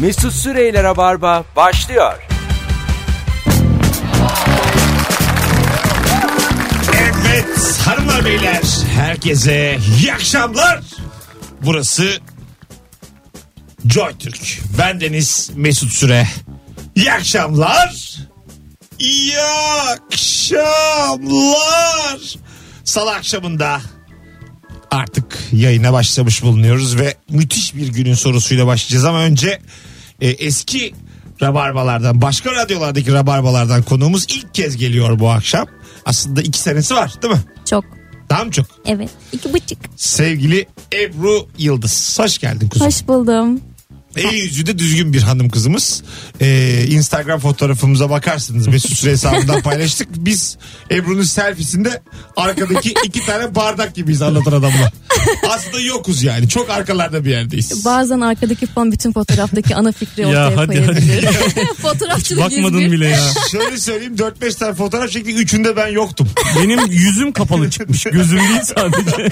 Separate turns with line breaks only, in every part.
Mesut Süreyle Rabarba başlıyor.
Evet hanımlar beyler herkese iyi akşamlar. Burası Joy Türk. Ben Deniz Mesut Süre. İyi akşamlar. İyi akşamlar. Salı akşamında artık yayına başlamış bulunuyoruz ve müthiş bir günün sorusuyla başlayacağız ama önce e, eski rabarbalardan başka radyolardaki rabarbalardan konuğumuz ilk kez geliyor bu akşam. Aslında iki senesi var değil mi?
Çok.
Daha mı çok?
Evet. İki buçuk.
Sevgili Ebru Yıldız. Hoş geldin kuzum.
Hoş buldum.
El yüzü de düzgün bir hanım kızımız. Ee, Instagram fotoğrafımıza bakarsınız. Mesut Süre hesabından paylaştık. Biz Ebru'nun selfiesinde arkadaki iki tane bardak gibiyiz anlatan adamla. Aslında yokuz yani. Çok arkalarda bir yerdeyiz.
Bazen arkadaki fan bütün fotoğraftaki ana fikri
Ya
ortaya
hadi
koyabilir. Fotoğrafçılık
Bakmadın
İzmir.
bile ya.
Şöyle söyleyeyim 4-5 tane fotoğraf çekti. Üçünde ben yoktum.
Benim yüzüm kapalı çıkmış. Gözüm değil sadece.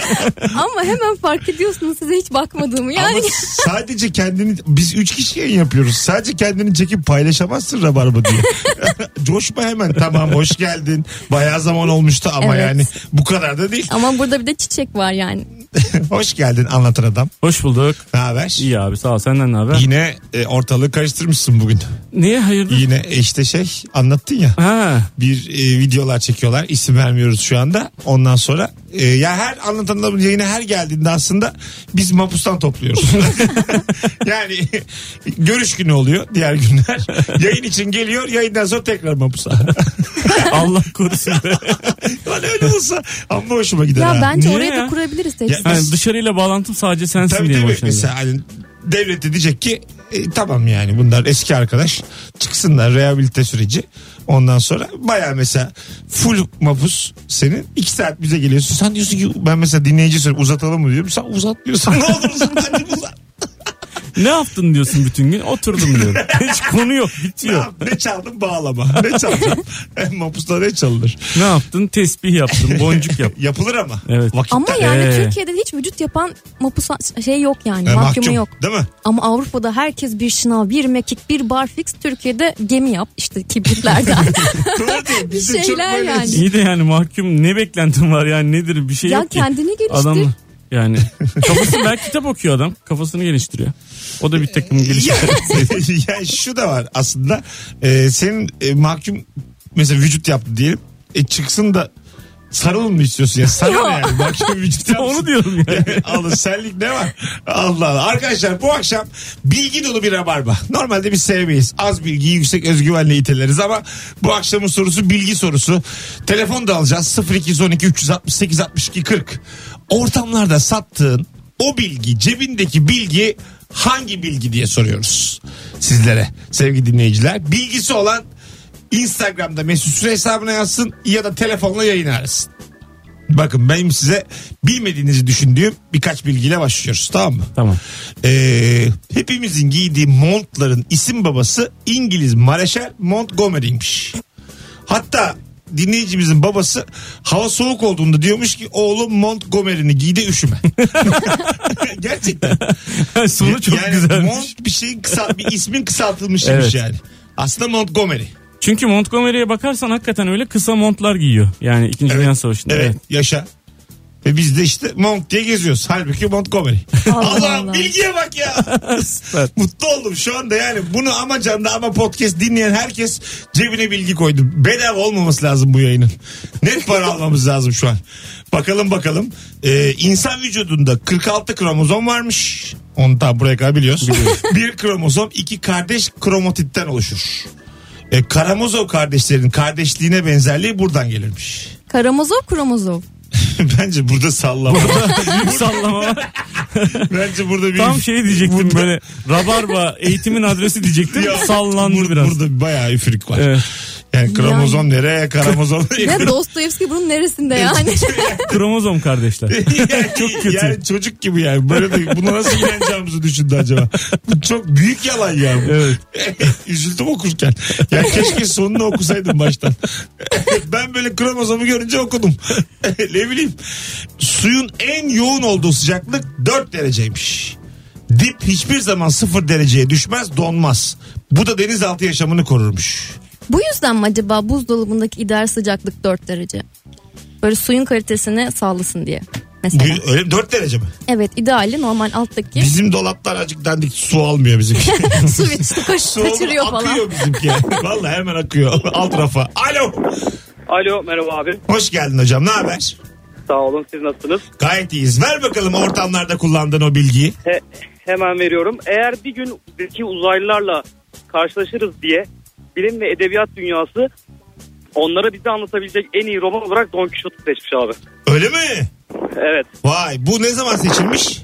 Ama hemen fark ediyorsunuz size hiç bakmadığımı.
Ama
Yani
sadece kendini biz üç kişi yayın yapıyoruz. Sadece kendini çekip paylaşamazsın rabarba diye. Coşma hemen tamam hoş geldin. Bayağı zaman olmuştu ama
Evet.
yani bu kadar da değil.
ama burada bir de çiçek var yani.
hoş geldin anlatan adam.
Hoş bulduk.
Ne haber?
İyi abi sağ ol senden ne haber?
Yine e, ortalığı karıştırmışsın bugün.
Niye hayırdır?
Yine e, işte şey anlattın ya.
Ha.
Bir e, videolar çekiyorlar. İsim vermiyoruz şu anda. Ondan sonra e, ya her anlatan adamın yayına her geldiğinde aslında biz mapustan topluyoruz. yani görüş günü oluyor diğer günler. Yayın için geliyor. Yayından sonra tekrar mapusa.
Allah korusun. be.
Lan öyle olsa amma hoşuma gider.
Ya
ha.
bence
niye
oraya da
ya?
kurabiliriz
Ya-
tepsi.
Yani dışarıyla bağlantım sadece sensin
Tabii
diye
tabii.
başladı.
Mesela hani devlet de diyecek ki e, tamam yani bunlar eski arkadaş çıksınlar rehabilite süreci. Ondan sonra baya mesela full mapus senin iki saat bize geliyorsun. Sen diyorsun ki ben mesela dinleyici soruyorum uzatalım mı diyorum. Sen uzatmıyorsun. ne olur uzat hadi uzat.
Ne yaptın diyorsun bütün gün? Oturdum diyorum. Hiç konu yok
Ne,
bitiyor.
yap- ne çaldın bağlama. Ne çaldın? Mapusta ne çalınır?
ne yaptın? Tesbih yaptın. Boncuk yap.
Yapılır ama.
Evet.
Vakit
Ama yani
Ee.
Türkiye'de hiç vücut yapan mapusa şey yok yani.
e,
mahkumu
mahkum,
yok.
Değil mi?
Ama Avrupa'da herkes bir şınav, bir mekik, bir barfix. Türkiye'de gemi yap işte kibritlerden.
Doğru değil. Biz de çok
şeyler
böyle
yani.
İyi de yani mahkum ne beklentin var yani nedir bir şey
ya
yok şey ki.
kendini geliştir.
Adam yani kafasını belki kitap okuyor adam. Kafasını geliştiriyor. O da bir takım
Ya,
geliştiriyor.
ya şu da var aslında Ee, senin e, mahkum mesela vücut yaptı diyelim e, çıksın da sarılın mı istiyorsun ya sarıl yani mahkum vücut yapsın.
Onu diyorum yani.
Allah senlik ne var? Allah Allah. Arkadaşlar bu akşam bilgi dolu bir rabarba. Normalde biz sevmeyiz. Az bilgiyi yüksek özgüvenle iteleriz ama bu akşamın sorusu bilgi sorusu. Telefon da alacağız 0212 368 62 40. Ortamlarda sattığın o bilgi cebindeki bilgi hangi bilgi diye soruyoruz sizlere sevgili dinleyiciler. Bilgisi olan Instagram'da Mesut Süre hesabına yazsın ya da telefonla yayın arasın. Bakın benim size bilmediğinizi düşündüğüm birkaç bilgiyle başlıyoruz tamam mı?
tamam.
Ee, hepimizin giydiği montların isim babası İngiliz Mareşal Montgomery'miş. Hatta dinleyicimizin babası hava soğuk olduğunda diyormuş ki oğlum Montgomery'ni giy de üşüme. Gerçekten.
Sonu çok
yani
güzelmiş.
Mont bir şeyin kısa bir ismin kısaltılmışmış
Evet.
yani. Aslında Montgomery.
Çünkü Montgomery'e bakarsan hakikaten öyle kısa montlar giyiyor. Yani 2. Dünya Savaşı'nda.
Evet,
Evet.
yaşa. Ve biz de işte Mont diye geziyoruz. Halbuki Montgomery.
Allah
Allah,
Allah.
bilgiye bak ya. Mutlu oldum şu anda yani. Bunu ama canlı ama podcast dinleyen herkes cebine bilgi koydu. Bedava olmaması lazım bu yayının. Net para almamız lazım şu an. Bakalım bakalım. Ee, insan vücudunda 46 kromozom varmış. Onu tam buraya kadar biliyoruz. bir kromozom iki kardeş kromotitten oluşur. E, Karamazov kardeşlerin kardeşliğine benzerliği buradan gelirmiş.
Karamazov kromozov.
Bence burada sallama.
Büyük sallama var.
Bence burada bir...
Tam şey diyecektim böyle rabarba eğitimin adresi diyecektim.
Ya,
Sallandı
bur-
biraz.
Burada bayağı üfürük var.
Evet.
Yani kromozom nereye kromozom
Ve Dostoyevski bunun neresinde yani?
Kromozom kardeşler.
çok
kötü.
Yani çocuk gibi yani. Böyle de buna nasıl inanacağımızı düşündü acaba. Bu çok büyük yalan ya. bu.
Evet.
Üzüldüm okurken. Ya keşke sonunu okusaydım baştan. ben böyle kromozomu görünce okudum. ne bileyim. Suyun en yoğun olduğu sıcaklık 4 dereceymiş. Dip hiçbir zaman sıfır dereceye düşmez donmaz. Bu da denizaltı yaşamını korurmuş.
Bu yüzden mi acaba buzdolabındaki ideal sıcaklık 4 derece? Böyle suyun kalitesini sağlasın diye. Mesela.
Bu- Öyle mi? 4 derece mi?
Evet ideali normal alttaki
Bizim dolaplar azıcık dandik su almıyor bizimki.
su içti kaç,
su
kaçırıyor
akıyor
falan.
bizimki. Vallahi hemen akıyor alt rafa. Alo.
Alo merhaba abi.
Hoş geldin hocam ne haber?
Sağ olun siz nasılsınız?
Gayet iyiyiz. Ver bakalım ortamlarda kullandığın o bilgiyi.
He- hemen veriyorum. Eğer bir gün bizdeki uzaylılarla karşılaşırız diye bilim ve edebiyat dünyası onlara bize anlatabilecek en iyi roman olarak Don Quixote seçmiş abi.
Öyle mi?
Evet.
Vay bu ne zaman seçilmiş?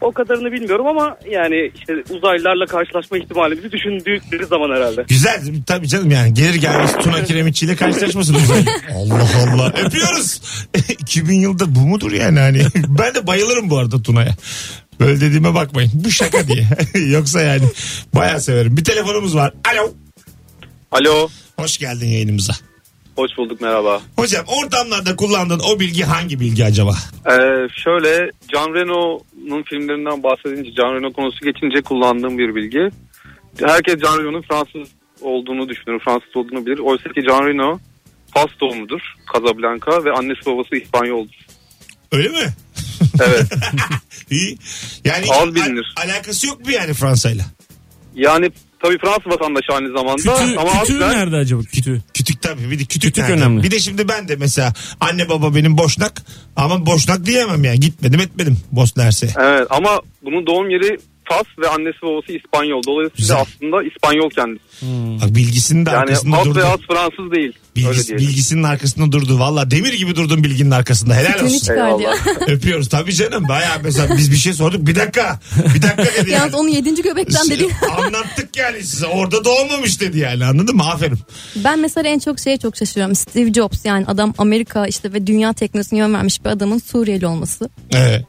O kadarını bilmiyorum ama yani işte uzaylılarla karşılaşma ihtimalimizi düşündükleri zaman herhalde.
Güzel tabii canım yani gelir gelmez Tuna Kiremitçi ile karşılaşmasın. uzay. Allah Allah öpüyoruz. 2000 yılda bu mudur yani hani ben de bayılırım bu arada Tuna'ya. Böyle dediğime bakmayın bu şaka diye. Yoksa yani bayağı severim. Bir telefonumuz var. Alo.
Alo.
Hoş geldin yayınımıza.
Hoş bulduk merhaba.
Hocam ortamlarda kullandığın o bilgi hangi bilgi acaba?
Ee, şöyle Can Reno'nun filmlerinden bahsedince Can Reno konusu geçince kullandığım bir bilgi. Herkes Can Reno'nun Fransız olduğunu düşünür. Fransız olduğunu bilir. Oysa ki Can Reno Fas doğumludur. Casablanca ve annesi babası İspanyoldur.
Öyle mi?
Evet.
İyi. Yani
Az
hiç
bilinir.
al- alakası yok mu yani Fransa'yla?
yani tabii Fransız vatandaşı aynı zamanda
Kütüğü,
ama
kütüğü
aslen
nerede acaba kütüğü?
Kütük tabii bir de kütük,
Kütük
nereden?
önemli.
Bir de şimdi ben de mesela anne baba benim boşnak ama boşnak diyemem yani gitmedim etmedim Bosna Hersek'e.
Evet ama bunun doğum yeri Fas ve annesi babası İspanyol.
Güzel.
Dolayısıyla aslında İspanyol kendisi.
Bak bilgisinin de
Yani
arkasında
Fas
durdu.
ve As Fransız değil. Öyle
Bilgis-
diyelim.
bilgisinin arkasında durdu. Valla demir gibi durdun bilginin arkasında. Helal
Tütünü
olsun.
çıkar diyor.
Öpüyoruz tabii canım. Bayağı mesela biz bir şey sorduk. Bir dakika. Bir dakika dedi
Yalnız
yani.
onu yedinci göbekten dedi.
Anlattık yani size. Orada doğmamış dedi yani. Anladın mı? Aferin.
Ben mesela en çok şeye çok şaşırıyorum. Steve Jobs yani adam Amerika işte ve dünya teknolojisine yön vermiş bir adamın Suriyeli olması.
Evet.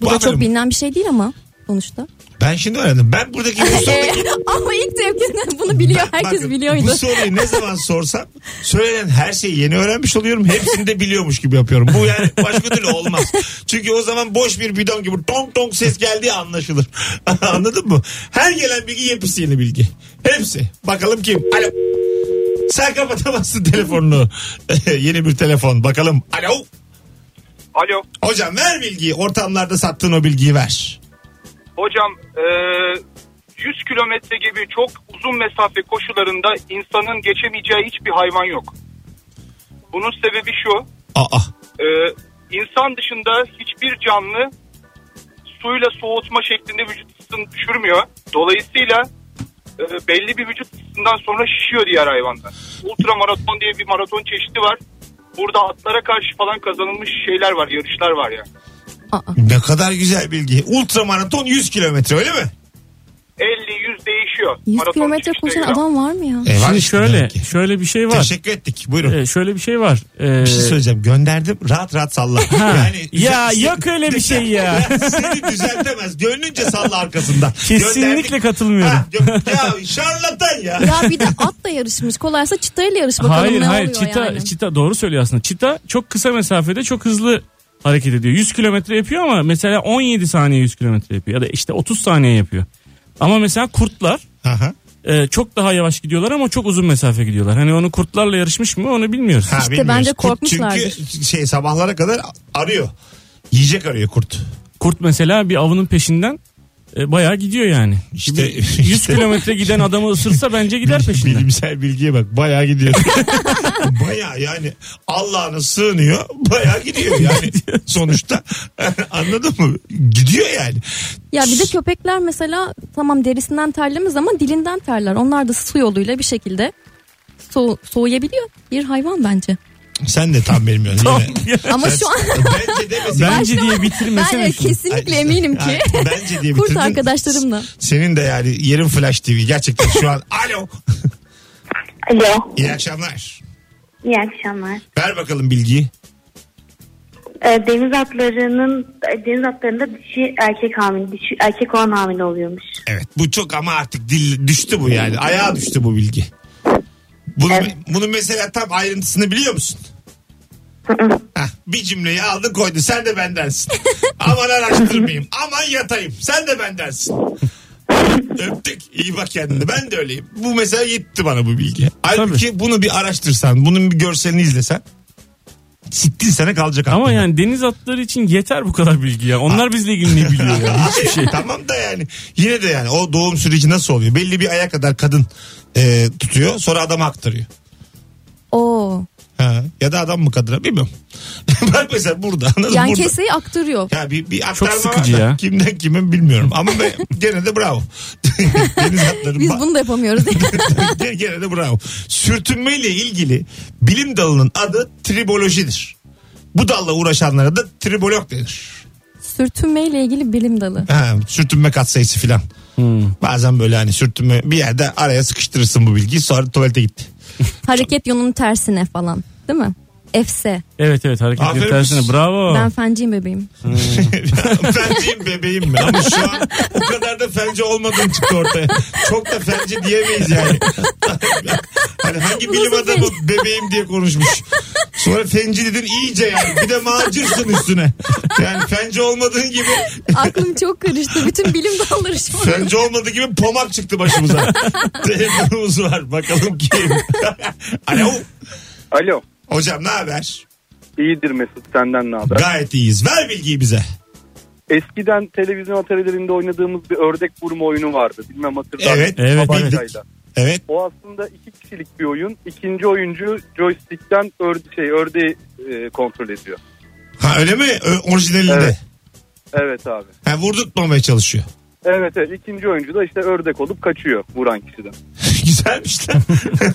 Bu da
Ee, Aferin.
çok bilinen bir şey değil ama sonuçta.
Ben şimdi öğrendim. Ben buradaki bu sorudaki
ama ilk tepkinde bunu biliyor.
Ee, Ben-
Herkes
bakın,
biliyordu.
Bu soruyu ne zaman sorsam söylenen her şeyi yeni öğrenmiş oluyorum. Hepsini de biliyormuş gibi yapıyorum. Bu yani başka türlü olmaz. Çünkü o zaman boş bir bidon gibi tong tong ses geldiği anlaşılır. Anladın mı? Her gelen bilgi yepyeni yeni bilgi. Hepsi. Bakalım kim? Alo. Sen kapatamazsın telefonunu. yeni bir telefon. Bakalım. Alo.
Alo.
Hocam ver bilgiyi. Ortamlarda sattığın o bilgiyi ver.
Hocam e, 100 kilometre gibi çok uzun mesafe koşularında insanın geçemeyeceği hiçbir hayvan yok. Bunun sebebi şu.
Aa.
e, insan dışında hiçbir canlı suyla soğutma şeklinde vücut ısısını düşürmüyor. Dolayısıyla e, belli bir vücut ısısından sonra şişiyor diğer hayvanlar. Ultramaraton diye bir maraton çeşidi var. Burada atlara karşı falan kazanılmış şeyler var, yarışlar var ya.
Aa,
Ne kadar güzel bilgi. Ultramaraton 100 kilometre öyle mi?
50-100 değişiyor.
100
Maraton
kilometre koşan
çıkışına göre.
adam var mı ya?
E, var
Şimdi
işte
şöyle
demek ki.
şöyle bir şey var.
Teşekkür ettik. Buyurun.
Ee, şöyle bir şey var. Ee,
bir şey söyleyeceğim. Gönderdim. Rahat rahat salla.
Ha.
Yani
Ya,
düzel-
yok öyle bir şey ya.
Seni düzeltemez. Gönlünce salla arkasında.
kesinlikle
Gönderdik.
katılmıyorum.
Ha, gö- ya şarlatan ya.
Ya bir de atla yarışmış. Kolaysa çıtayla yarış bakalım
Hayır
ne
hayır
oluyor
çita
yani.
çita doğru söylüyor aslında. Çita çok kısa mesafede çok hızlı hareket ediyor. 100 kilometre yapıyor ama mesela 17 saniye 100 kilometre yapıyor ya da işte 30 saniye yapıyor. Ama mesela kurtlar
Aha.
e, çok daha yavaş gidiyorlar ama çok uzun mesafe gidiyorlar. Hani onu kurtlarla yarışmış mı onu bilmiyoruz.
Ha,
İşte
bilmiyoruz.
bence
Kurt
korkmuşlardır.
Çünkü şey sabahlara kadar arıyor. Yiyecek arıyor kurt.
Kurt mesela bir avının peşinden e, bayağı gidiyor yani.
İşte-
Bir 100
işte-
kilometre giden adamı ısırsa bence gider peşinden.
Bilimsel bilgiye bak. Bayağı gidiyor. bayağı yani Allah'ına sığınıyor. Bayağı gidiyor yani. sonuçta. Anladın mı? Gidiyor yani.
Ya bir de köpekler mesela tamam derisinden terlemez ama dilinden terler. Onlar da su yoluyla bir şekilde so- soğuyabiliyor. Bir hayvan bence.
Sen de tam bilmiyorsun.
Tamam
yine.
ya.
Ama şu an
Bence demesin.
Bence diye
ben
bitirmesene.
de
şunu.
kesinlikle eminim ki.
Ay, bence diye
Kurt
bitirdin.
arkadaşlarımla.
Senin de yani yerin flash TV gerçekten şu an. Alo.
Alo,
İyi akşamlar.
iyi akşamlar.
Ver bakalım bilgiyi.
Ee, deniz atlarının deniz atlarında dişi erkek hamile, dişi erkek olan hamile oluyormuş.
Evet bu çok ama artık dil düştü bu yani. Ayağa düştü bu bilgi. Bunu,
Evet.
bunu mesela tam ayrıntısını biliyor musun? Hah, bir cümleyi aldı koydu. Sen de bendensin. Aman araştırmayayım. Aman yatayım. Sen de bendensin. Öptük. İyi bak kendine. Ben de öyleyim. Bu mesela yetti bana bu bilgi. Halbuki bunu bir araştırsan, bunun bir görselini izlesen. Sittin sene kalacak
Ama
aklında.
yani deniz atları için yeter bu kadar bilgi ya. Onlar bizle ilgili ne biliyor ya? Hiçbir şey.
tamam da yani yine de yani o doğum süreci nasıl oluyor? Belli bir aya kadar kadın e, tutuyor sonra adama aktarıyor.
Oo.
Ha. Ya da adam mı kadına bilmiyorum. Bak mesela burada anladın mı?
Yani
Burada.
keseyi aktırıyor.
Ya bir, bir aktarma
Çok sıkıcı
var da
ya.
Kimden kimin bilmiyorum ama ben, gene de bravo. Deniz atları
Biz
ba-
bunu da yapamıyoruz.
gene, gene de bravo. Sürtünmeyle ilgili bilim dalının adı tribolojidir. Bu dalla uğraşanlara da tribolog denir.
Sürtünmeyle ilgili bilim dalı.
Ha, sürtünme katsayısı filan. Bazen böyle hani sürtünme bir yerde araya sıkıştırırsın bu bilgiyi sonra tuvalete gitti.
Hareket yönünün tersine falan. Değil mi? Efse.
Evet evet hareketleri
Aferin.
tersine bravo.
Ben fenciyim bebeğim.
fenciyim bebeğim mi? Ama şu an o kadar da fence olmadığım çıktı ortaya. Çok da fence diyemeyiz yani. hani hangi bilim
Nasıl
adamı bebeğim diye konuşmuş. Sonra fenci dedin iyice yani. Bir de macersin üstüne. Yani fence olmadığın gibi
Aklım çok karıştı. Bütün bilim dalları şu an.
fence olmadığı gibi pomak çıktı başımıza. Telefonumuz var. Bakalım kim? Alo.
Alo.
Hocam ne haber?
İyidir Mesut senden ne haber?
Gayet iyiyiz. Ver bilgiyi bize.
Eskiden televizyon atarilerinde oynadığımız bir ördek vurma oyunu vardı. Bilmem hatırlar mısın?
Evet.
Evet,
bildik.
Tabancayla.
Evet.
O aslında iki kişilik bir oyun. İkinci oyuncu joystick'ten örde, şey, ördeği e, kontrol ediyor.
Ha öyle mi? Ö- Orijinalinde.
Evet. Evet abi.
Ha, vurdurtmamaya çalışıyor.
Evet evet ikinci oyuncu da işte ördek olup kaçıyor vuran kişiden.
Güzelmiş lan.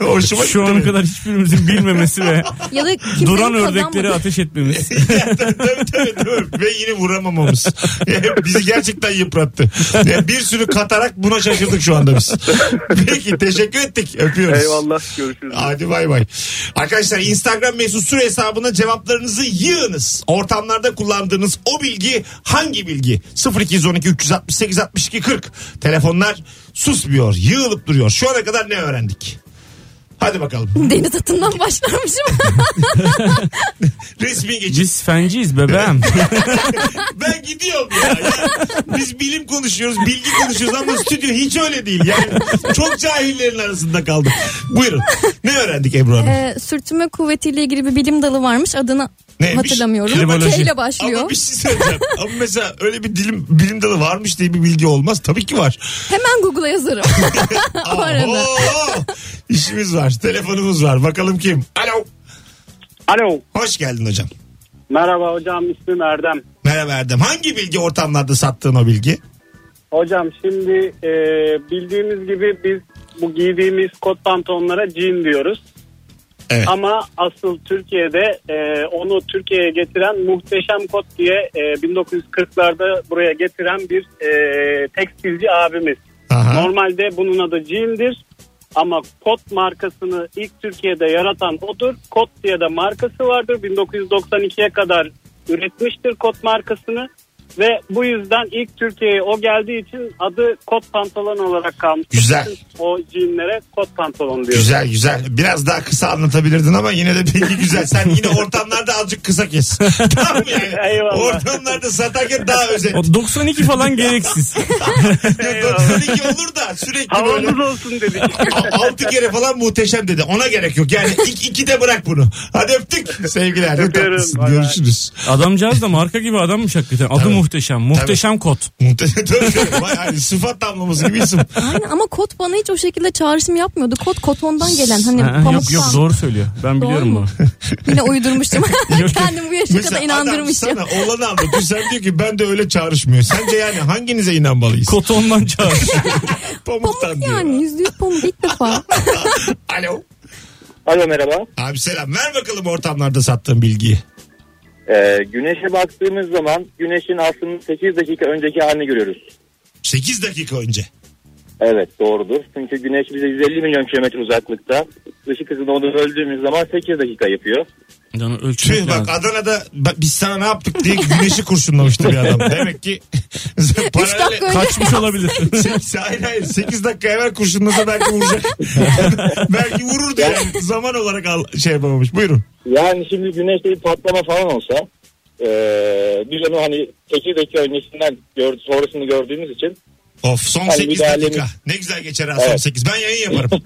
Hoşuma gitti.
Şu ana
benim.
kadar hiçbirimizin bilmemesi ve
Ya da kimsenin
duran
kazanmadığı-
ördekleri ateş etmemiz.
tabii, tabii, tabii. Ve yine vuramamamız. E, Bizi gerçekten yıprattı. Yani bir sürü katarak buna şaşırdık şu anda biz. Peki teşekkür ettik. Öpüyoruz.
Eyvallah görüşürüz.
Hadi bay bay. Arkadaşlar Instagram mesut süre hesabına cevaplarınızı yığınız. Ortamlarda kullandığınız o bilgi hangi bilgi? 0212 368 62 40. Telefonlar susmuyor, yığılıp duruyor. Şu ana kadar ne öğrendik? Hadi bakalım.
Deniz atından başlarmışım.
Resmi geçiş.
Biz fenciyiz bebeğim.
Ben gidiyorum ya. Ya Biz bilim konuşuyoruz, bilgi konuşuyoruz ama stüdyo hiç öyle değil. Yani çok cahillerin arasında kaldık. Buyurun. Ne öğrendik Ebru Hanım?
Ee, sürtünme kuvvetiyle ilgili bir bilim dalı varmış. Adını
Neymiş?
hatırlamıyorum.
Kriboloji.
T ile başlıyor.
Ama bir şey söyleyeceğim. Ama mesela öyle bir dilim, bilim dalı varmış diye bir bilgi olmaz. Tabii ki var.
Hemen Google'a yazarım. o arada.
Oho! İşimiz var. Telefonumuz var. Bakalım kim? Alo.
Alo.
Hoş geldin hocam.
Merhaba hocam ismim Erdem.
Merhaba Erdem. Hangi bilgi ortamlarda sattığın o bilgi?
Hocam şimdi e, bildiğimiz gibi biz bu giydiğimiz kot pantolonlara jean diyoruz.
Evet.
Ama asıl Türkiye'de e, onu Türkiye'ye getiren muhteşem kot diye e, 1940'larda buraya getiren bir e, tekstilci abimiz.
Aha.
Normalde bunun adı jean'dir ama kot markasını ilk Türkiye'de yaratan odur. Kot diye de markası vardır. 1992'ye kadar üretmiştir kot markasını ve bu yüzden ilk Türkiye'ye o geldiği için adı kot pantolon olarak kalmış.
Güzel.
O jeanlere kot pantolon diyor.
Güzel güzel. Biraz daha kısa anlatabilirdin ama yine de bilgi güzel. Sen yine ortamlarda azıcık kısa kes. tamam mı yani.
Eyvallah.
Ortamlarda satarken daha özet.
O 92 falan gereksiz.
Eyvallah.
92 olur da sürekli böyle.
Havamız olsun dedik.
A- Altı kere falan muhteşem dedi. Ona gerek yok. Yani iki, iki de bırak bunu. Hadi öptük. Sevgiler. Çok
Öpüyorum.
tatlısın.
Bay bay.
Görüşürüz.
Adamcağız da marka gibi adammış hakikaten. Adı
Tabii.
muhteşem. Muhteşem kot.
Muhteşem. Tabii, tabii. Vay, hani sıfat damlaması gibi isim.
Aynen ama kot bana hiç o şekilde çağrışım yapmıyordu. Kot kotondan gelen hani
Ha,
pamuktan.
yok yok doğru söylüyor. Ben
Doğru
biliyorum
mu?
bunu.
Yine uydurmuştum.
yok.
Kendimi bu yaşa
Mesela
kadar
adam
inandırmışım.
sana olanı anlatıyor. Sen diyor ki ben de öyle çağrışmıyor. Sence yani hanginize inanmalıyız?
Kot ondan çağır.
Pamuktan
Pamuk
diyor.
yani yüzde yüz pamuk ilk defa.
Alo.
Alo merhaba.
Abi selam. Ver bakalım ortamlarda sattığın bilgiyi.
Ee, güneşe baktığımız zaman güneşin aslında 8 dakika önceki halini görüyoruz.
8 dakika önce.
Evet doğrudur. Çünkü güneş bize 150 milyon kilometre uzaklıkta. Işık hızında onu öldüğümüz zaman 8 dakika yapıyor.
Canı ölçmek
Tüh
lazım.
bak Adana'da bak biz sana ne yaptık diye güneşi kurşunlamıştı bir adam. Demek ki
Üç dakika
paralel...
önce
Kaçmış olabilir.
Sekiz- Şey, hayır hayır 8 dakika evvel kurşunlasa belki vuracak. belki vururdu yani. Zaman olarak al, şey yapamamış. Buyurun.
Yani şimdi güneşte bir patlama falan olsa e, eee biz onu hani 8 dakika öncesinden gör, sonrasını gördüğümüz için
Of son
Hani
8
müdahalemiz-
dakika. Ne güzel geçer ha son
Evet.
8. Ben yayın yaparım.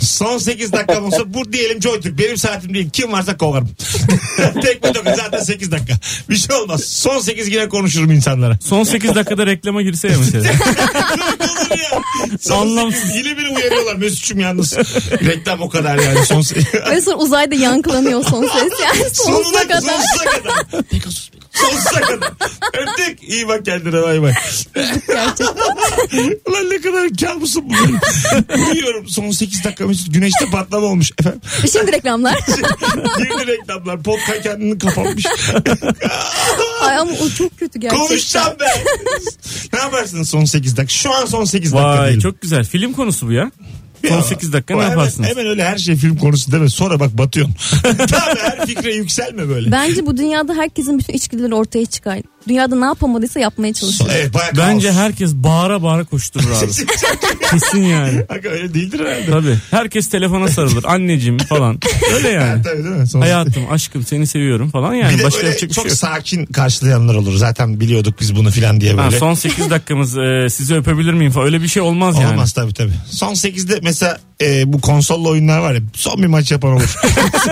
son 8 dakika olsa bu diyelim Joytürk. Benim saatim değil. Kim varsa kovarım. Tekme tokat zaten 8 dakika. Bir şey olmaz. Son 8 yine konuşurum insanlara.
Son 8 dakikada reklama girse ya mesela.
Olur ya. Son
Anlamsız.
sekiz- Yine beni uyarıyorlar Mesut'cum yalnız. Reklam o kadar yani. Son se-
Ve sonra uzayda yankılanıyor son ses yani sonsuza
Sonuna
kadar.
Sonsuza kadar. Pegasus, Pegasus. Sonsuza kadar. Öptük. İyi bak kendine bay bay. Ulan ne kadar kabusum bu. benim. Uyuyorum. Son 8 dakika Mesut güneşte patlama olmuş. Efendim.
E, Şimdi reklamlar.
Girdi reklamlar. Podcast kendini kapatmış.
Ay ama o çok kötü gerçekten.
Konuşacağım be. ne yaparsın son 8 dakika? Şu an son 8 dakika
Vay
diyelim.
çok güzel. Film konusu bu ya. Son
Ya.
8 dakika ne
Hemen-
yaparsınız?
Hemen, öyle her şey film konusu deme. Sonra bak batıyorsun. Tabii her fikre yükselme böyle.
Bence bu dünyada herkesin bütün içgüdüleri ortaya çıkar. Dünyada ne yapamadıysa yapmaya çalışır.
Evet, bayağı
Bence
kaos.
herkes bağıra bağıra koşturur abi. Kesin yani.
Hakikaten öyle değildir herhalde.
Tabii. Herkes telefona sarılır. Anneciğim falan. Öyle yani.
Tabii değil mi? Son-
Hayatım, aşkım seni seviyorum falan
Bir
yani.
de
Başka
böyle
yapacak bir şey
çok
yok.
sakin karşılayanlar olur. Zaten biliyorduk biz bunu filan diye
Ha,
böyle.
son 8 dakikamız e, sizi öpebilir miyim falan. Öyle bir şey olmaz yani.
Olmaz tabii tabii. Son 8'de mesela e, bu konsolla oyunlar var ya son bir maç yapan olur.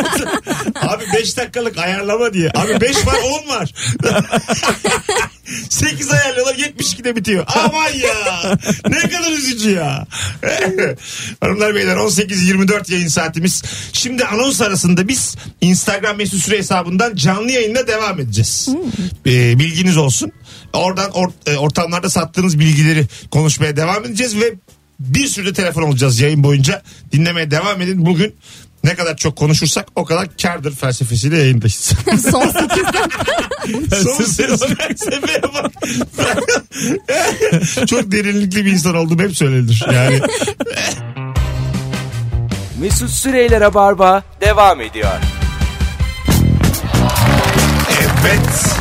abi 5 dakikalık ayarlama diye. Abi 5 var 10 var. 8 ayarlıyorlar 72'de bitiyor. Aman ya. Ne kadar üzücü ya. Hanımlar beyler 18-24 yayın saatimiz. Şimdi anons arasında biz Instagram mesut süre hesabından canlı yayına devam edeceğiz. Ee, bilginiz olsun. Oradan or- e, ortamlarda sattığınız bilgileri konuşmaya devam edeceğiz ve bir sürü de telefon olacağız yayın boyunca. Dinlemeye devam edin. Bugün ne kadar çok konuşursak o kadar kardır felsefesiyle yayındayız.
son 8 dakika.
Son ses felsefeye bak. Çok derinlikli bir insan oldum hep söylenir. Yani
Mesut Süreyler'e barba devam ediyor.
evet.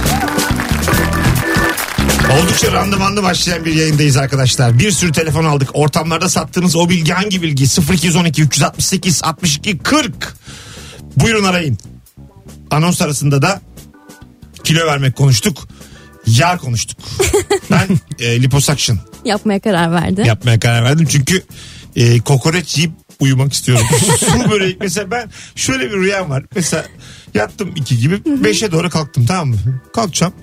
Oldukça randımanlı başlayan bir yayındayız arkadaşlar. Bir sürü telefon aldık. Ortamlarda sattığınız o bilgi hangi bilgi? 0212 368 62 40. Buyurun arayın. Anons arasında da kilo vermek konuştuk. Yağ konuştuk. Ben e, liposuction
Yapmaya karar verdi.
yapmaya karar verdim. Çünkü e, kokoreç yiyip uyumak istiyorum. Su börek mesela ben şöyle bir rüyam var. Mesela yattım iki gibi beşe doğru kalktım tamam mı? Kalkacağım.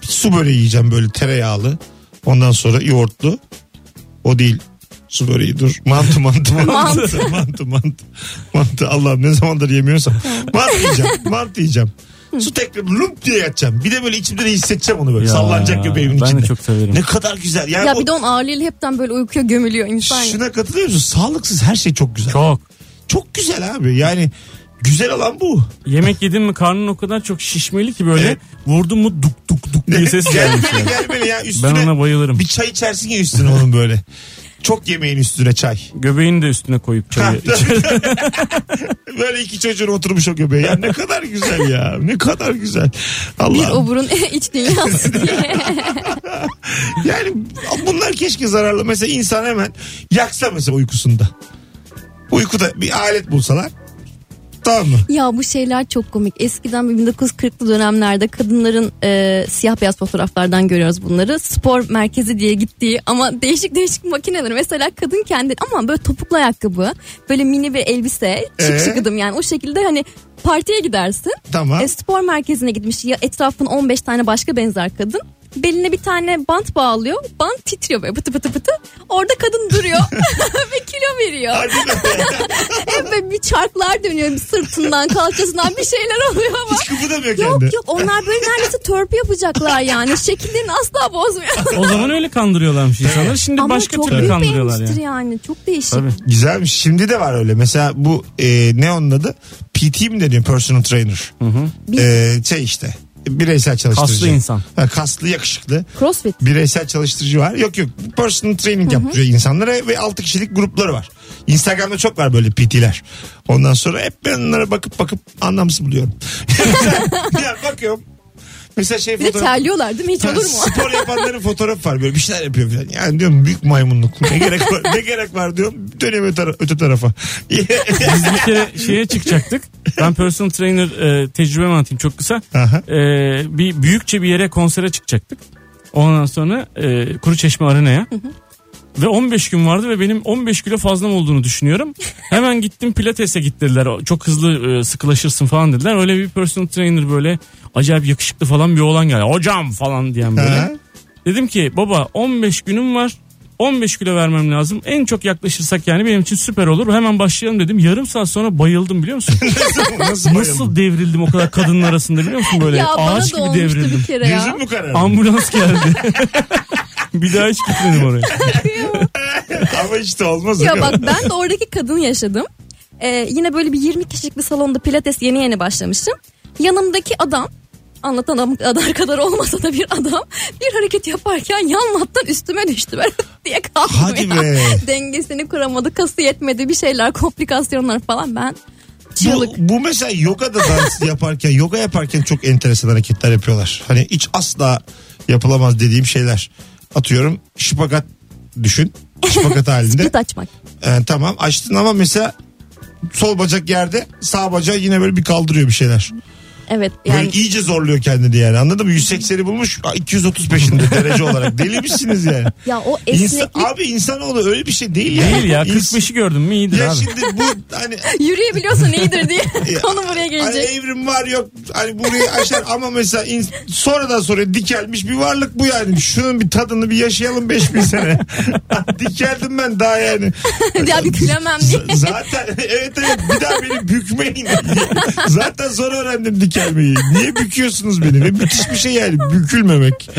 Su böreği yiyeceğim böyle tereyağlı. Ondan sonra yoğurtlu. O değil. Su böreği dur. Mantı mantı. mantı mantı mantı. Mantı Allah'ım ne zamandır yemiyorsam. Mantı yiyeceğim. Mantı yiyeceğim. Su tekrar lump diye yatacağım. Bir de böyle içimde de hissedeceğim onu böyle.
Ya,
Sallanacak göbeğimin
ben de
içinde.
çok severim.
Ne kadar güzel. Yani
Ya
o-
bir de onun ağırlığıyla hepten böyle uykuya gömülüyor insan. ya.
Şuna katılıyor musun? Sağlıksız her şey çok güzel. Çok,
Çok.
güzel abi. Yani güzel olan bu.
Yemek yedin mi karnın o kadar çok şişmeli ki böyle
Evet.
vurdun mu duk duk duk diye ses gelmiş.
Gelmeli
yani.
gelmeli ya
Ben
üstüne.
ona bayılırım.
Bir çay içersin ya üstüne onun böyle. Çok yemeğin üstüne çay.
Göbeğini de üstüne koyup
Ha,
çayı.
böyle iki çocuğun oturmuş o göbeğe. Ya ne kadar güzel ya. Ne kadar güzel.
Bir
Allah.
oburun iç dünyası diye.
Yani bunlar keşke zararlı. Mesela insan hemen yaksa mesela uykusunda. Uykuda bir alet bulsalar. Tamam mı?
Ya bu şeyler çok komik. Eskiden bir 1940'lı dönemlerde kadınların e, siyah beyaz fotoğraflardan görüyoruz bunları. Spor merkezi diye gittiği ama değişik değişik makineler. Mesela kadın kendi ama böyle topuklu ayakkabı, böyle mini bir elbise, şık
Ee?
şıkıdım yani. O şekilde hani partiye gidersin.
Tamam.
E, spor merkezine gitmiş ya etrafın 15 tane başka benzer kadın. Beline bir tane bant bağlıyor. Bant titriyor böyle pıtı pıtı pıtı. Orada kadın duruyor ve kilo veriyor.
Hadi be.
Hep böyle bir çarklar dönüyor bir sırtından kalçasından bir şeyler oluyor ama.
Hiç kıpırdamıyor kendi.
Yok yok onlar böyle neredeyse törpü yapacaklar yani. Şekillerini asla bozmuyor.
o zaman öyle kandırıyorlarmış insanları. Şimdi
Ama
başka
çok
türlü
büyük
kandırıyorlar
beğenmiştir
yani.
yani. Çok değişik.
Tabii.
Güzelmiş. Şimdi de var öyle. Mesela bu e, ne onun adı? PT mi deniyor? Personal trainer.
Biz-
E, şey işte. bireysel çalıştırıcı.
Kaslı insan.
Ha, kaslı yakışıklı.
Crossfit.
bireysel çalıştırıcı var. Yok yok personal training yaptırıyor insanlara ve 6 kişilik grupları var. Instagram'da çok var böyle PT'ler. Ondan sonra hep ben onlara bakıp bakıp anlamsız buluyorum. ya bakıyorum. Mesela şey
Bir de
fotoğraf...
terliyorlar değil mi? Hiç
Ha,
olur mu?
Spor yapanların fotoğrafı var böyle bir şeyler yapıyor falan. Yani diyorum büyük maymunluk. Ne gerek var, ne gerek var diyorum. Dönüyorum öte, tara- öte tarafa.
Biz bir kere şeye çıkacaktık. Ben personal trainer e, tecrübemi anlatayım çok kısa.
Aha.
E, bir büyükçe bir yere konsere çıkacaktık. Ondan sonra e, Kuru Çeşme Arena'ya. Ve 15 gün vardı ve benim 15 kilo fazlam olduğunu düşünüyorum. Hemen gittim pilatese gittiler. Çok hızlı e, sıkılaşırsın falan dediler. Öyle bir personal trainer böyle acayip yakışıklı falan bir oğlan geldi. Hocam falan diyen böyle.
Ha?
Dedim ki baba 15 günüm var. 15 kilo vermem lazım. En çok yaklaşırsak yani benim için süper olur. Hemen başlayalım dedim. Yarım saat sonra bayıldım biliyor musun?
nasıl, nasıl,
Nasıl devrildim o kadar kadının arasında biliyor musun böyle
ya bana
ağaç
da
gibi
olmuştu
devrildim.
bir kere ya.
Gözüm mü karardı?
Ambulans geldi. bir daha hiç gitmedim oraya.
Ama işte olmaz.
Ya
o
bak
kadar.
ben de oradaki kadını yaşadım. Ee, yine böyle bir 20 kişilik bir salonda pilates yeni yeni başlamıştım. Yanımdaki adam anlatan adam kadar kadar olmasa da bir adam bir hareket yaparken yan mattan üstüme düştü ben diye kaldım
Hadi
ya.
be.
Dengesini kuramadı kası yetmedi bir şeyler komplikasyonlar falan ben
Bu,
çığlık.
bu mesela yoga da dans yaparken yoga yaparken çok enteresan hareketler yapıyorlar. Hani hiç asla yapılamaz dediğim şeyler. Atıyorum şıpakat düşün. Şıpakat halinde.
Split açmak.
Ee, tamam açtın ama mesela sol bacak yerde sağ bacağı yine böyle bir kaldırıyor bir şeyler.
Evet
Böyle
yani
iyice zorluyor kendini yani anladın mı? 180'i bulmuş 230 peşinde derece olarak. Deli misiniz yani?
ya o
İnsan,
esneklik
abi insanoğlu öyle bir şey değil ya.
Değil ya
İns-
45'i gördüm mü iyidir
Ya
abi.
şimdi bu hani
yürüyebiliyorsan iyidir diye
Ya,
konu buraya
Hani
gelecek.
evrim var yok hani burayı aşar ama mesela in, sonradan sonra dikelmiş bir varlık bu yani. Şunun bir tadını bir yaşayalım 5000 sene. Dikeldim ben daha yani.
ya bir gülemem diye.
Z- zaten evet evet bir daha beni bükmeyin. zaten zor öğrendim dikelmeyi. Niye büküyorsunuz beni? Ve müthiş bir şey yani bükülmemek.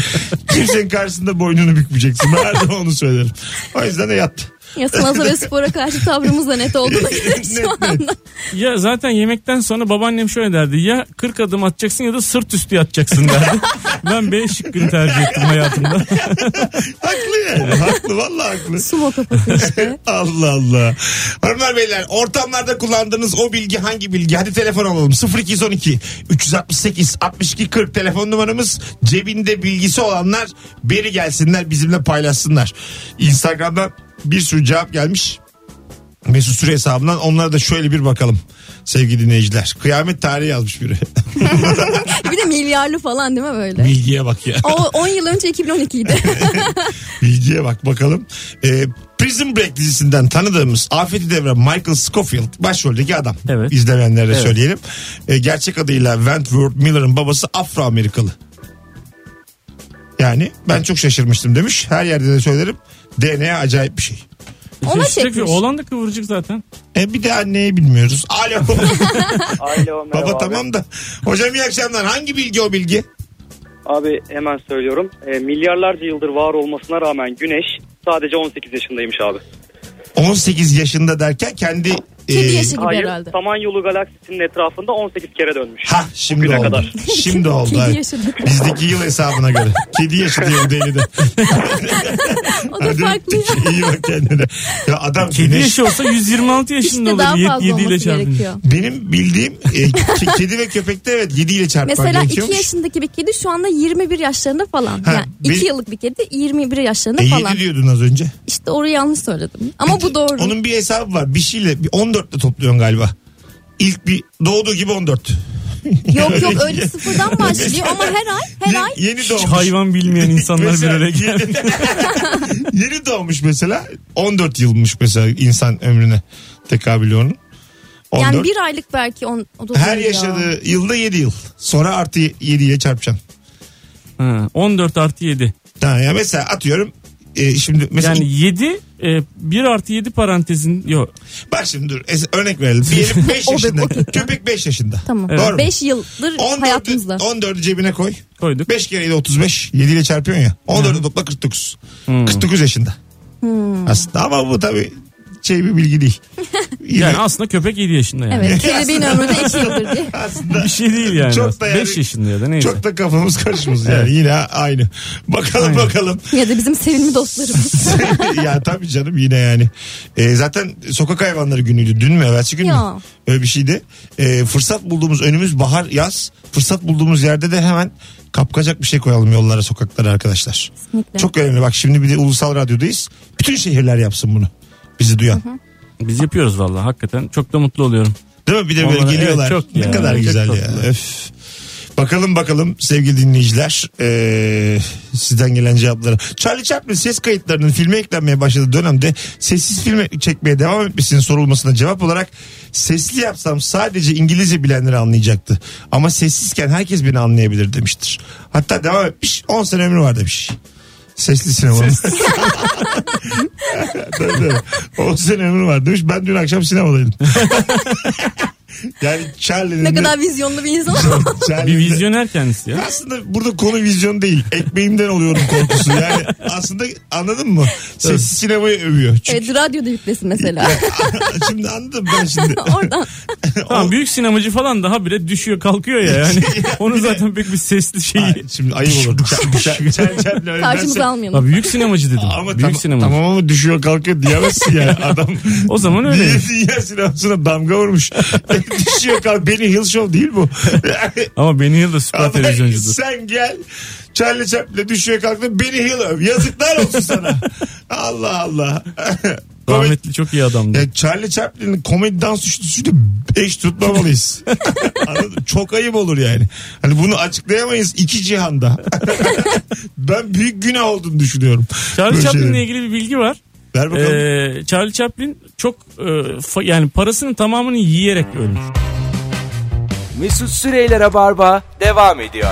Kimsenin karşısında boynunu bükmeyeceksin. Ben her zaman onu söylerim. O yüzden de yat.
Ya sanata ve spora karşı tavrımız da net olduğuna göre
Net,
şu anda.
Ya zaten yemekten sonra babaannem şöyle derdi. Ya 40 adım atacaksın ya da sırt üstü yatacaksın derdi. ben B şıkkını tercih ettim hayatımda.
Haklı yani. Haklı vallahi haklı.
Sumo kafası işte.
Allah Allah. Hanımlar beyler ortamlarda kullandığınız o bilgi hangi bilgi? Hadi telefon alalım. 0212 368 62 40 telefon numaramız. Cebinde bilgisi olanlar beri gelsinler bizimle paylaşsınlar. Instagram'dan bir sürü cevap gelmiş. Mesut Süre hesabından onlara da şöyle bir bakalım sevgili dinleyiciler. Kıyamet tarihi yazmış biri.
Bir de milyarlı falan değil mi böyle?
Bilgiye bak ya.
O 10 yıl önce 2012 idi.
Bilgiye bak bakalım. Ee, Prison Break dizisinden tanıdığımız Afet Devran Michael Scofield başroldeki adam.
Evet.
İzlemeyenlere de söyleyelim. Ee, gerçek adıyla Wentworth Miller'ın babası Afro-Amerikalı. Yani ben çok şaşırmıştım demiş. Her yerde de söylerim. DNA acayip bir şey.
Ona
Üstelik
çekmiş.
Oğlan da kıvırcık zaten.
E bir de anneyi bilmiyoruz. Alo.
Alo merhaba
Baba
abi.
tamam da. Hocam iyi akşamlar. Hangi bilgi o bilgi?
Abi hemen söylüyorum. E, milyarlarca yıldır var olmasına rağmen güneş sadece 18 yaşındaymış abi.
18 yaşında derken kendi...
Kedi
e,
yaşı gibi
Hayır
herhalde.
Samanyolu galaksisinin etrafında 18 kere dönmüş.
Ha şimdi
Bugüne
oldu.
kadar.
Şimdi oldu.
Kedi
evet.
yaşı dedi.
Bizdeki yıl hesabına göre. Kedi yaşı diyor bu deli de.
O da
Hadi
farklı ya.
öptük. İyi bak kendine. Ya adam
Kedi
güneş-
yaşı olsa 126 yaşında
İşte daha
olur.
fazla
7 ile
olması
çarpınca.
gerekiyor.
Benim bildiğim e, ke- kedi ve köpekte evet 7 ile çarpman
Mesela 2
gerekiyormuş.
yaşındaki bir kedi şu anda 21 yaşlarında falan.
Ha,
yani
bir-
2 yıllık bir kedi 21 yaşlarında
E,
falan.
yedi diyordun az önce.
İşte orayı yanlış söyledim. Ama bu doğru.
Onun bir hesabı var. Bir şeyle bir 14 ile topluyorsun galiba. İlk bir doğduğu gibi 14.
Yok yok öyle sıfırdan başlıyor ama her ay her ay
Ye- yeni
Hiç
doğmuş.
hayvan bilmeyen insanlar bir
Mesela
araya gelmiş.
yeni- yeni doğmuş mesela 14 yılmış mesela insan ömrüne tekabül ediyor onun. 14.
yani bir aylık belki on, o da
Her
doğru ya.
yaşadığı yılda 7 yıl. Sonra artı 7 ile çarpacaksın.
Ha, 14 artı 7.
Ha, ya mesela atıyorum e, şimdi mesela
Yani 7 e, 1 artı 7 parantezin yok.
bak şimdi dur es- örnek verelim. Diyelim 5
O be-
yaşında.
okey.
Köpek 5 yaşında.
Tamam.
Evet. Doğru mu?
5 yıldır
14'ü
hayatımızda.
14'ü cebine koy.
Koyduk.
5 kere 7 35. 7 ile çarpıyorsun ya. 14'ü topla
Hmm.
Hmm.
49. 49 yaşında. Aslında ama bu tabii şey bir bilgi değil. Yine-
Yani aslında köpek 7 yaşında yani.
Evet kelebeğin ömrü de 2 yıldır diye.
aslında
Bir şey değil yani.
Çok
Çok
da yani-
5 yaşında ya da neyse.
çok da kafamız karışmış yani yine aynı. Bakalım
Aynen.
bakalım.
Ya da bizim sevimli dostlarımız.
ya tabii canım yine yani. Ee, zaten sokak hayvanları günüydü. Dün mü evvelsi gün mü?
Ya.
Öyle bir şeydi. Ee, fırsat bulduğumuz önümüz bahar yaz. Fırsat bulduğumuz yerde de hemen kapkacak bir şey koyalım yollara sokaklara arkadaşlar.
Kesinlikle.
Çok önemli bak şimdi bir de ulusal radyodayız. Bütün şehirler yapsın bunu. Bizi duyan.
Biz yapıyoruz valla hakikaten. Çok da mutlu oluyorum.
Değil mi? Bir de böyle
Vallahi
geliyorlar.
evet, çok
ne
ya.
kadar
Çok
güzel ya.
tatlı.
Öf. Bakalım bakalım sevgili dinleyiciler ee, sizden gelen cevapları. Charlie Chaplin ses kayıtlarının filme eklenmeye başladığı dönemde sessiz filme çekmeye devam etmesinin sorulmasına cevap olarak sesli yapsam sadece İngilizce bilenleri anlayacaktı. Ama sessizken herkes beni anlayabilir demiştir. Hatta devam etmiş 10 sene ömrü var demiş. Sesli sinema. Tabii, tabii. 10 sene ömrü var demiş. Ben dün akşam sinemadaydım. yani Charlie'nin
ne
de-
kadar vizyonlu bir insan.
Charlie'nin
Bir
de-
vizyoner kendisi ya.
Aslında burada konu vizyon değil. Ekmeğimden oluyorum korkusu. Yani aslında anladın mı? Sessiz sinemayı övüyor. Çünkü-
evet radyoda yüklesin mesela.
şimdi anladım ben şimdi.
Oradan.
Tamam büyük sinemacı falan daha bile düşüyor kalkıyor ya yani. Onun zaten pek bir sesli
Ha,
şeyi.
Şimdi ayıp olur. Çel- çel- çel- çel- öyle derse-
Karşımıza
Ya
almayalım.
büyük sinemacı dedim.
Ama
büyük
tam-
sinemacı.
tamam ama düşüyor kalkıyor diyemezsin yani adam.
O zaman öyle.
Niye dünya sinemasına damga vurmuş? düşüyor kalk. Benny Hill Show değil bu.
Ama Benny Hill de süper
Ama
televizyoncudur.
sen gel Charlie Chaplin'e düşüyor kalktı beni Hill öv. Yazıklar olsun sana. Allah Allah. Komedi-
Rahmetli çok iyi adamdı.
Ya Charlie Chaplin'in komedi dans üçlüsüyle eş tutmamalıyız. Anladın mı? Çok ayıp olur yani. Hani bunu açıklayamayız iki cihanda. ben büyük günah olduğunu düşünüyorum.
Charlie
Böyle
Chaplin'le
şeylerin.
ilgili bir bilgi var.
Ver bakalım.
Ee, Charlie Chaplin çok e, fa- yani parasının tamamını yiyerek ölmüş.
Mesut Süreyler'e barba devam ediyor.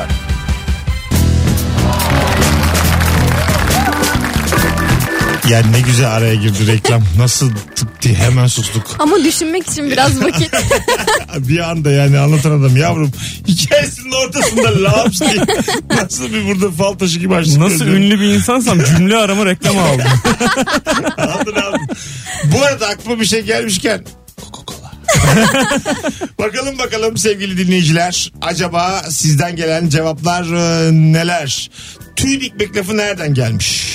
Yani ne güzel araya girdi reklam. Nasıl tık diye hemen sustuk.
Ama düşünmek için biraz vakit.
bir anda yani anlatan adam yavrum hikayesinin ortasında laps diye nasıl bir burada fal taşı gibi açtık.
Nasıl
gözlerini.
ünlü bir insansam cümle arama reklam aldım.
Aldın aldın. Bu arada aklıma bir şey gelmişken Coca-Cola. bakalım bakalım sevgili dinleyiciler. Acaba sizden gelen cevaplar e, neler? Tüy dikmek lafı nereden gelmiş?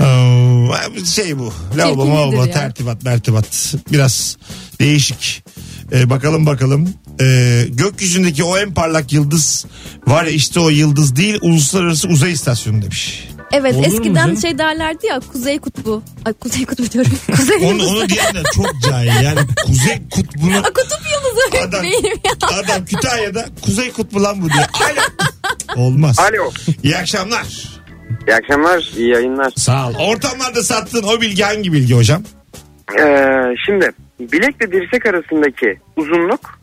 Ee, şey bu. Lavabo,
Çirkin nedir
mavabo,
ya?
tertibat, mertibat. Biraz değişik. Ee, bakalım bakalım. Ee, gökyüzündeki o en parlak yıldız var ya işte o yıldız değil uluslararası uzay istasyonu demiş.
Evet
Olur mu
eskiden
canım?
şey derlerdi ya Kuzey Kutbu. Ay Kuzey Kutbu diyorum. Kuzey
Onu,
Yıldızı.
onu diyenler çok cahil yani kuzey kutbuna
Aa, Kutup Yıldızı.
Adam-
Beynim ya.
adam Kütahya'da kuzey kutbu lan bu diyor. Alo. Olmaz.
Alo.
İyi akşamlar.
İyi akşamlar, iyi yayınlar.
Sağ ol. Ortamlarda sattığın o bilgi hangi bilgi hocam?
Ee, şimdi bilekle dirsek arasındaki uzunluk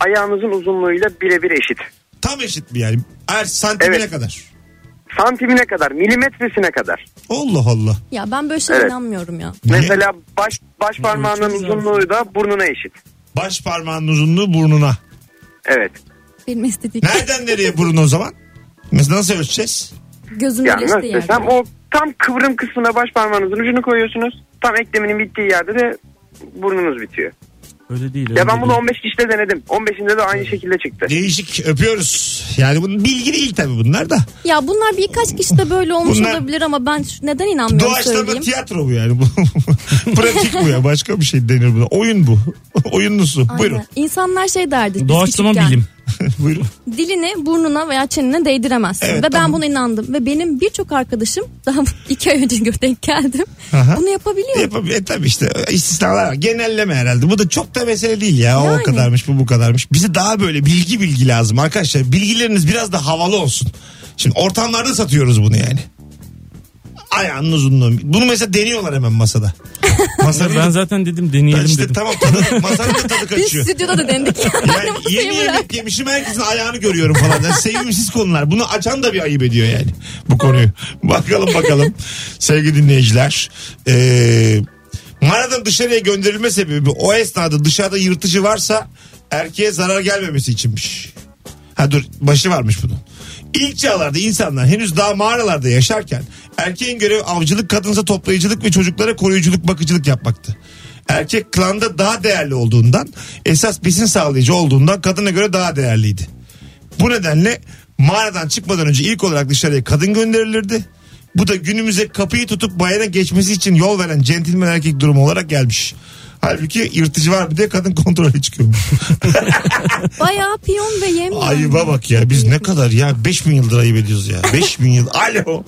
ayağınızın uzunluğuyla birebir eşit.
Tam eşit mi yani? Her santimine
Evet.
kadar.
Santimine kadar, milimetresine kadar.
Allah Allah.
Ya ben böyle şeye
Evet.
inanmıyorum ya.
Niye?
Mesela baş baş parmağının uzunluğu da burnuna eşit.
Baş parmağının uzunluğu burnuna.
Evet.
Benim estetik
Nereden nereye burun o zaman? Mesela nasıl ölçeceğiz?
gözümün
Yani
birleştiği
nasıl
yer.
desem o tam kıvrım kısmına baş parmağınızın ucunu koyuyorsunuz. Tam ekleminin bittiği yerde de burnunuz bitiyor.
Öyle değil.
Ya ben bunu 15 işte denedim. 15'inde de aynı şekilde çıktı.
Değişik öpüyoruz. Yani bunun bilgi değil tabii bunlar da.
Ya bunlar birkaç kişi de böyle olmuş
Bunlar-
olabilir ama ben şu- neden inanmıyorum
Doğaçlama
söyleyeyim.
tiyatro bu yani. Pratik bu ya. Başka bir şey denir buna. Oyun bu. Oyunlusu.
Aynen.
Buyurun.
İnsanlar şey derdi. biz
Doğaçlama
küçükken,
bilim.
Buyurun.
Dilini burnuna veya çenine değdiremezsin.
Evet,
ve ben
tamam.
buna inandım. Ve benim birçok arkadaşım daha iki ay önce denk geldim.
Aha.
Bunu yapabiliyor.
Yapab- e, tabii işte istisnalar var. Genelleme herhalde. Bu da çok da mesele değil ya. O
Yani.
kadarmış bu bu kadarmış. Bize daha böyle bilgi bilgi lazım arkadaşlar. Bilgileriniz biraz da havalı olsun. Şimdi ortamlarda satıyoruz bunu yani. Ayağının uzunluğu. Bunu mesela deniyorlar hemen masada. Masada
Ben zaten dedim deneyelim
işte
dedim.
tamam tadı, masanın da tadı
Biz
kaçıyor.
stüdyoda da denedik.
Yani
Masayı
yeni
bırak.
yemek yemişim herkesin ayağını görüyorum falan. Yani sevimsiz konular. Bunu açan da bir ayıp ediyor yani bu konuyu. Bakalım bakalım sevgili dinleyiciler. Ee, mağaradan dışarıya gönderilme sebebi o esnada dışarıda yırtıcı varsa erkeğe zarar gelmemesi içinmiş. Ha dur başı varmış bunun. İlk çağlarda insanlar henüz daha mağaralarda yaşarken erkeğin görevi avcılık, kadınsa toplayıcılık ve çocuklara koruyuculuk, bakıcılık yapmaktı. Erkek klanda daha değerli olduğundan, esas besin sağlayıcı olduğundan kadına göre daha değerliydi. Bu nedenle mağaradan çıkmadan önce ilk olarak dışarıya kadın gönderilirdi. Bu da günümüze kapıyı tutup bayana geçmesi için yol veren centilmen erkek durumu olarak gelmiş. Halbuki yırtıcı var bir de kadın kontrolü çıkıyormuş.
Bayağı piyon ve yem. yani.
Ayıba bak ya biz ne kadar ya 5000 yıldır ayıp ediyoruz ya. 5000 yıl. Alo.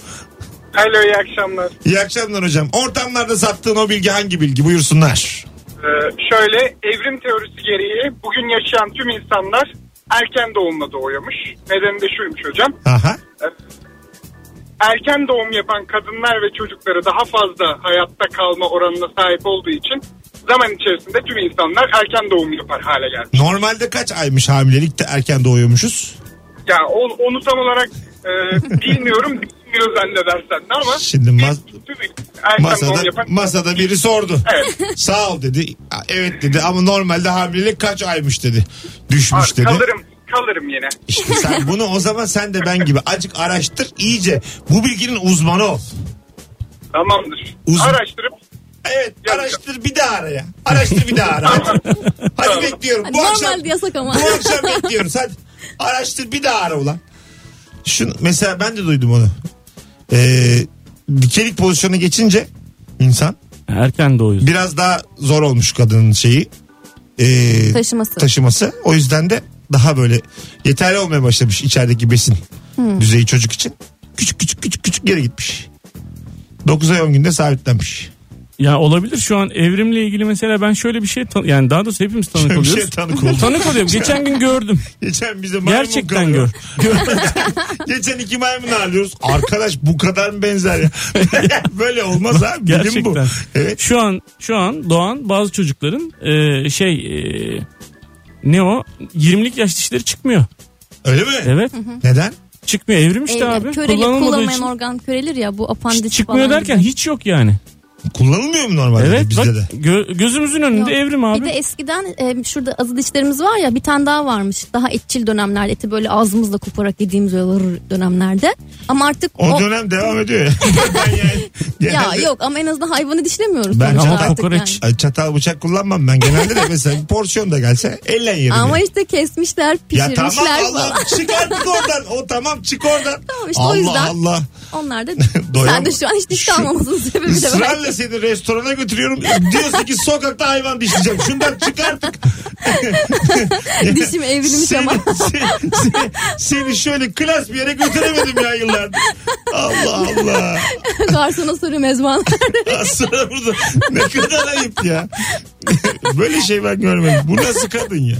Alo iyi akşamlar.
İyi akşamlar hocam. Ortamlarda sattığın o bilgi hangi bilgi? Buyursunlar.
Ee, şöyle evrim teorisi gereği bugün yaşayan tüm insanlar erken doğumla doğuyormuş. Nedeni de şuymuş hocam.
Aha.
Erken doğum yapan kadınlar ve çocukları daha fazla hayatta kalma oranına sahip olduğu için zaman içerisinde tüm insanlar erken doğum yapar hale geldi.
Normalde kaç aymış hamilelik de erken doğuyormuşuz?
Ya onu, onu tam olarak e, bilmiyorum bilmiyor zannedersen de ama
Şimdi mas-
tüm erken
masada
doğum yapan
masada biri sordu.
Evet.
Sağ ol dedi. Evet dedi ama normalde hamilelik kaç aymış dedi. Düşmüş dedi.
kalırım kalırım yine.
İşte sen bunu o zaman sen de ben gibi acık araştır iyice. Bu bilginin uzmanı ol.
Tamamdır.
Uzun.
Araştırıp
Evet
Yapacağım.
araştır bir daha ara ya. Araştır bir daha ara. Hadi, Hadi bekliyorum.
Hani
Bu akşam,
Normalde yasak ama.
bu akşam bekliyoruz hadi. Araştır bir daha ara ulan. Şunu, mesela ben de duydum onu. Ee, dikelik pozisyonu geçince insan
Erken doğuyoruz.
biraz daha zor olmuş kadının şeyi. Ee,
Taşıması.
taşıması. O yüzden de daha böyle yeterli olmaya başlamış içerideki besin düzeyi çocuk için. Küçük küçük küçük küçük geri gitmiş. 9 ay 10 günde sabitlenmiş.
Ya olabilir şu an evrimle ilgili mesela ben şöyle bir şey tan- yani daha doğrusu hepimiz tanık
Bir
oluyoruz.
şey tanık oldu.
tanık oluyorum. Geçen gün gördüm.
Geçen bize maymun
Gerçekten
kalıyor.
gör. Gör-
Geçen iki maymun alıyoruz. Arkadaş bu kadar mı benzer ya? Böyle olmaz ha. Bilim bu.
Gerçekten.
Evet.
Şu an şu an doğan bazı çocukların e, şey e, ne o 20'lik yaş dişleri çıkmıyor.
Öyle mi?
Evet.
Neden?
Çıkmıyor. Evrim işte
Ee,
abi.
köreli,
Kullanılmadığı
kullanmayan
için
organ körelir ya bu
hiç
apandis
çıkmıyor
falan.
derken hiç yok yani.
Kullanılmıyor mu normalde
Evet
bizde
bak
de?
gö- gözümüzün önünde
Yok.
evrim abi.
Bir de eskiden e, şurada azı dişlerimiz var ya bir tane daha varmış. Daha etçil dönemlerde eti böyle ağzımızla koparak yediğimiz öyle rrr dönemlerde. Ama artık
O,
o-
dönem devam ediyor ya. ben yani
ya
genelde-
yok ama en azından hayvanı dişlemiyoruz.
Ben
sonuçta
ama
artık
kokoreç-
Ay, çatal bıçak kullanmam ben. Genelde de mesela bir porsiyon da gelse elle yerim.
Ama
ya.
işte kesmişler,
ya
pişirmişler
tamam
falan.
Allah çık artık oradan. O tamam çık oradan.
Tamam işte o
Allah
yüzden.
Allah.
Onlar da
Doyam-
sen de şu an hiç diş
Şu-
kalmamasının sebebi de belki.
Israrla seni restorana götürüyorum. Diyorsun ki sokakta hayvan dişleyeceğim. Şundan çık artık.
Dişim evrilmiş
seni,
ama.
seni, seni- seni şöyle klas bir yere götüremedim ya yıllardır. Allah Allah.
Garsona soruyorum Ezban.
Aslında burada ne kadar ayıp ya. Böyle şey ben görmedim. Bu nasıl kadın ya?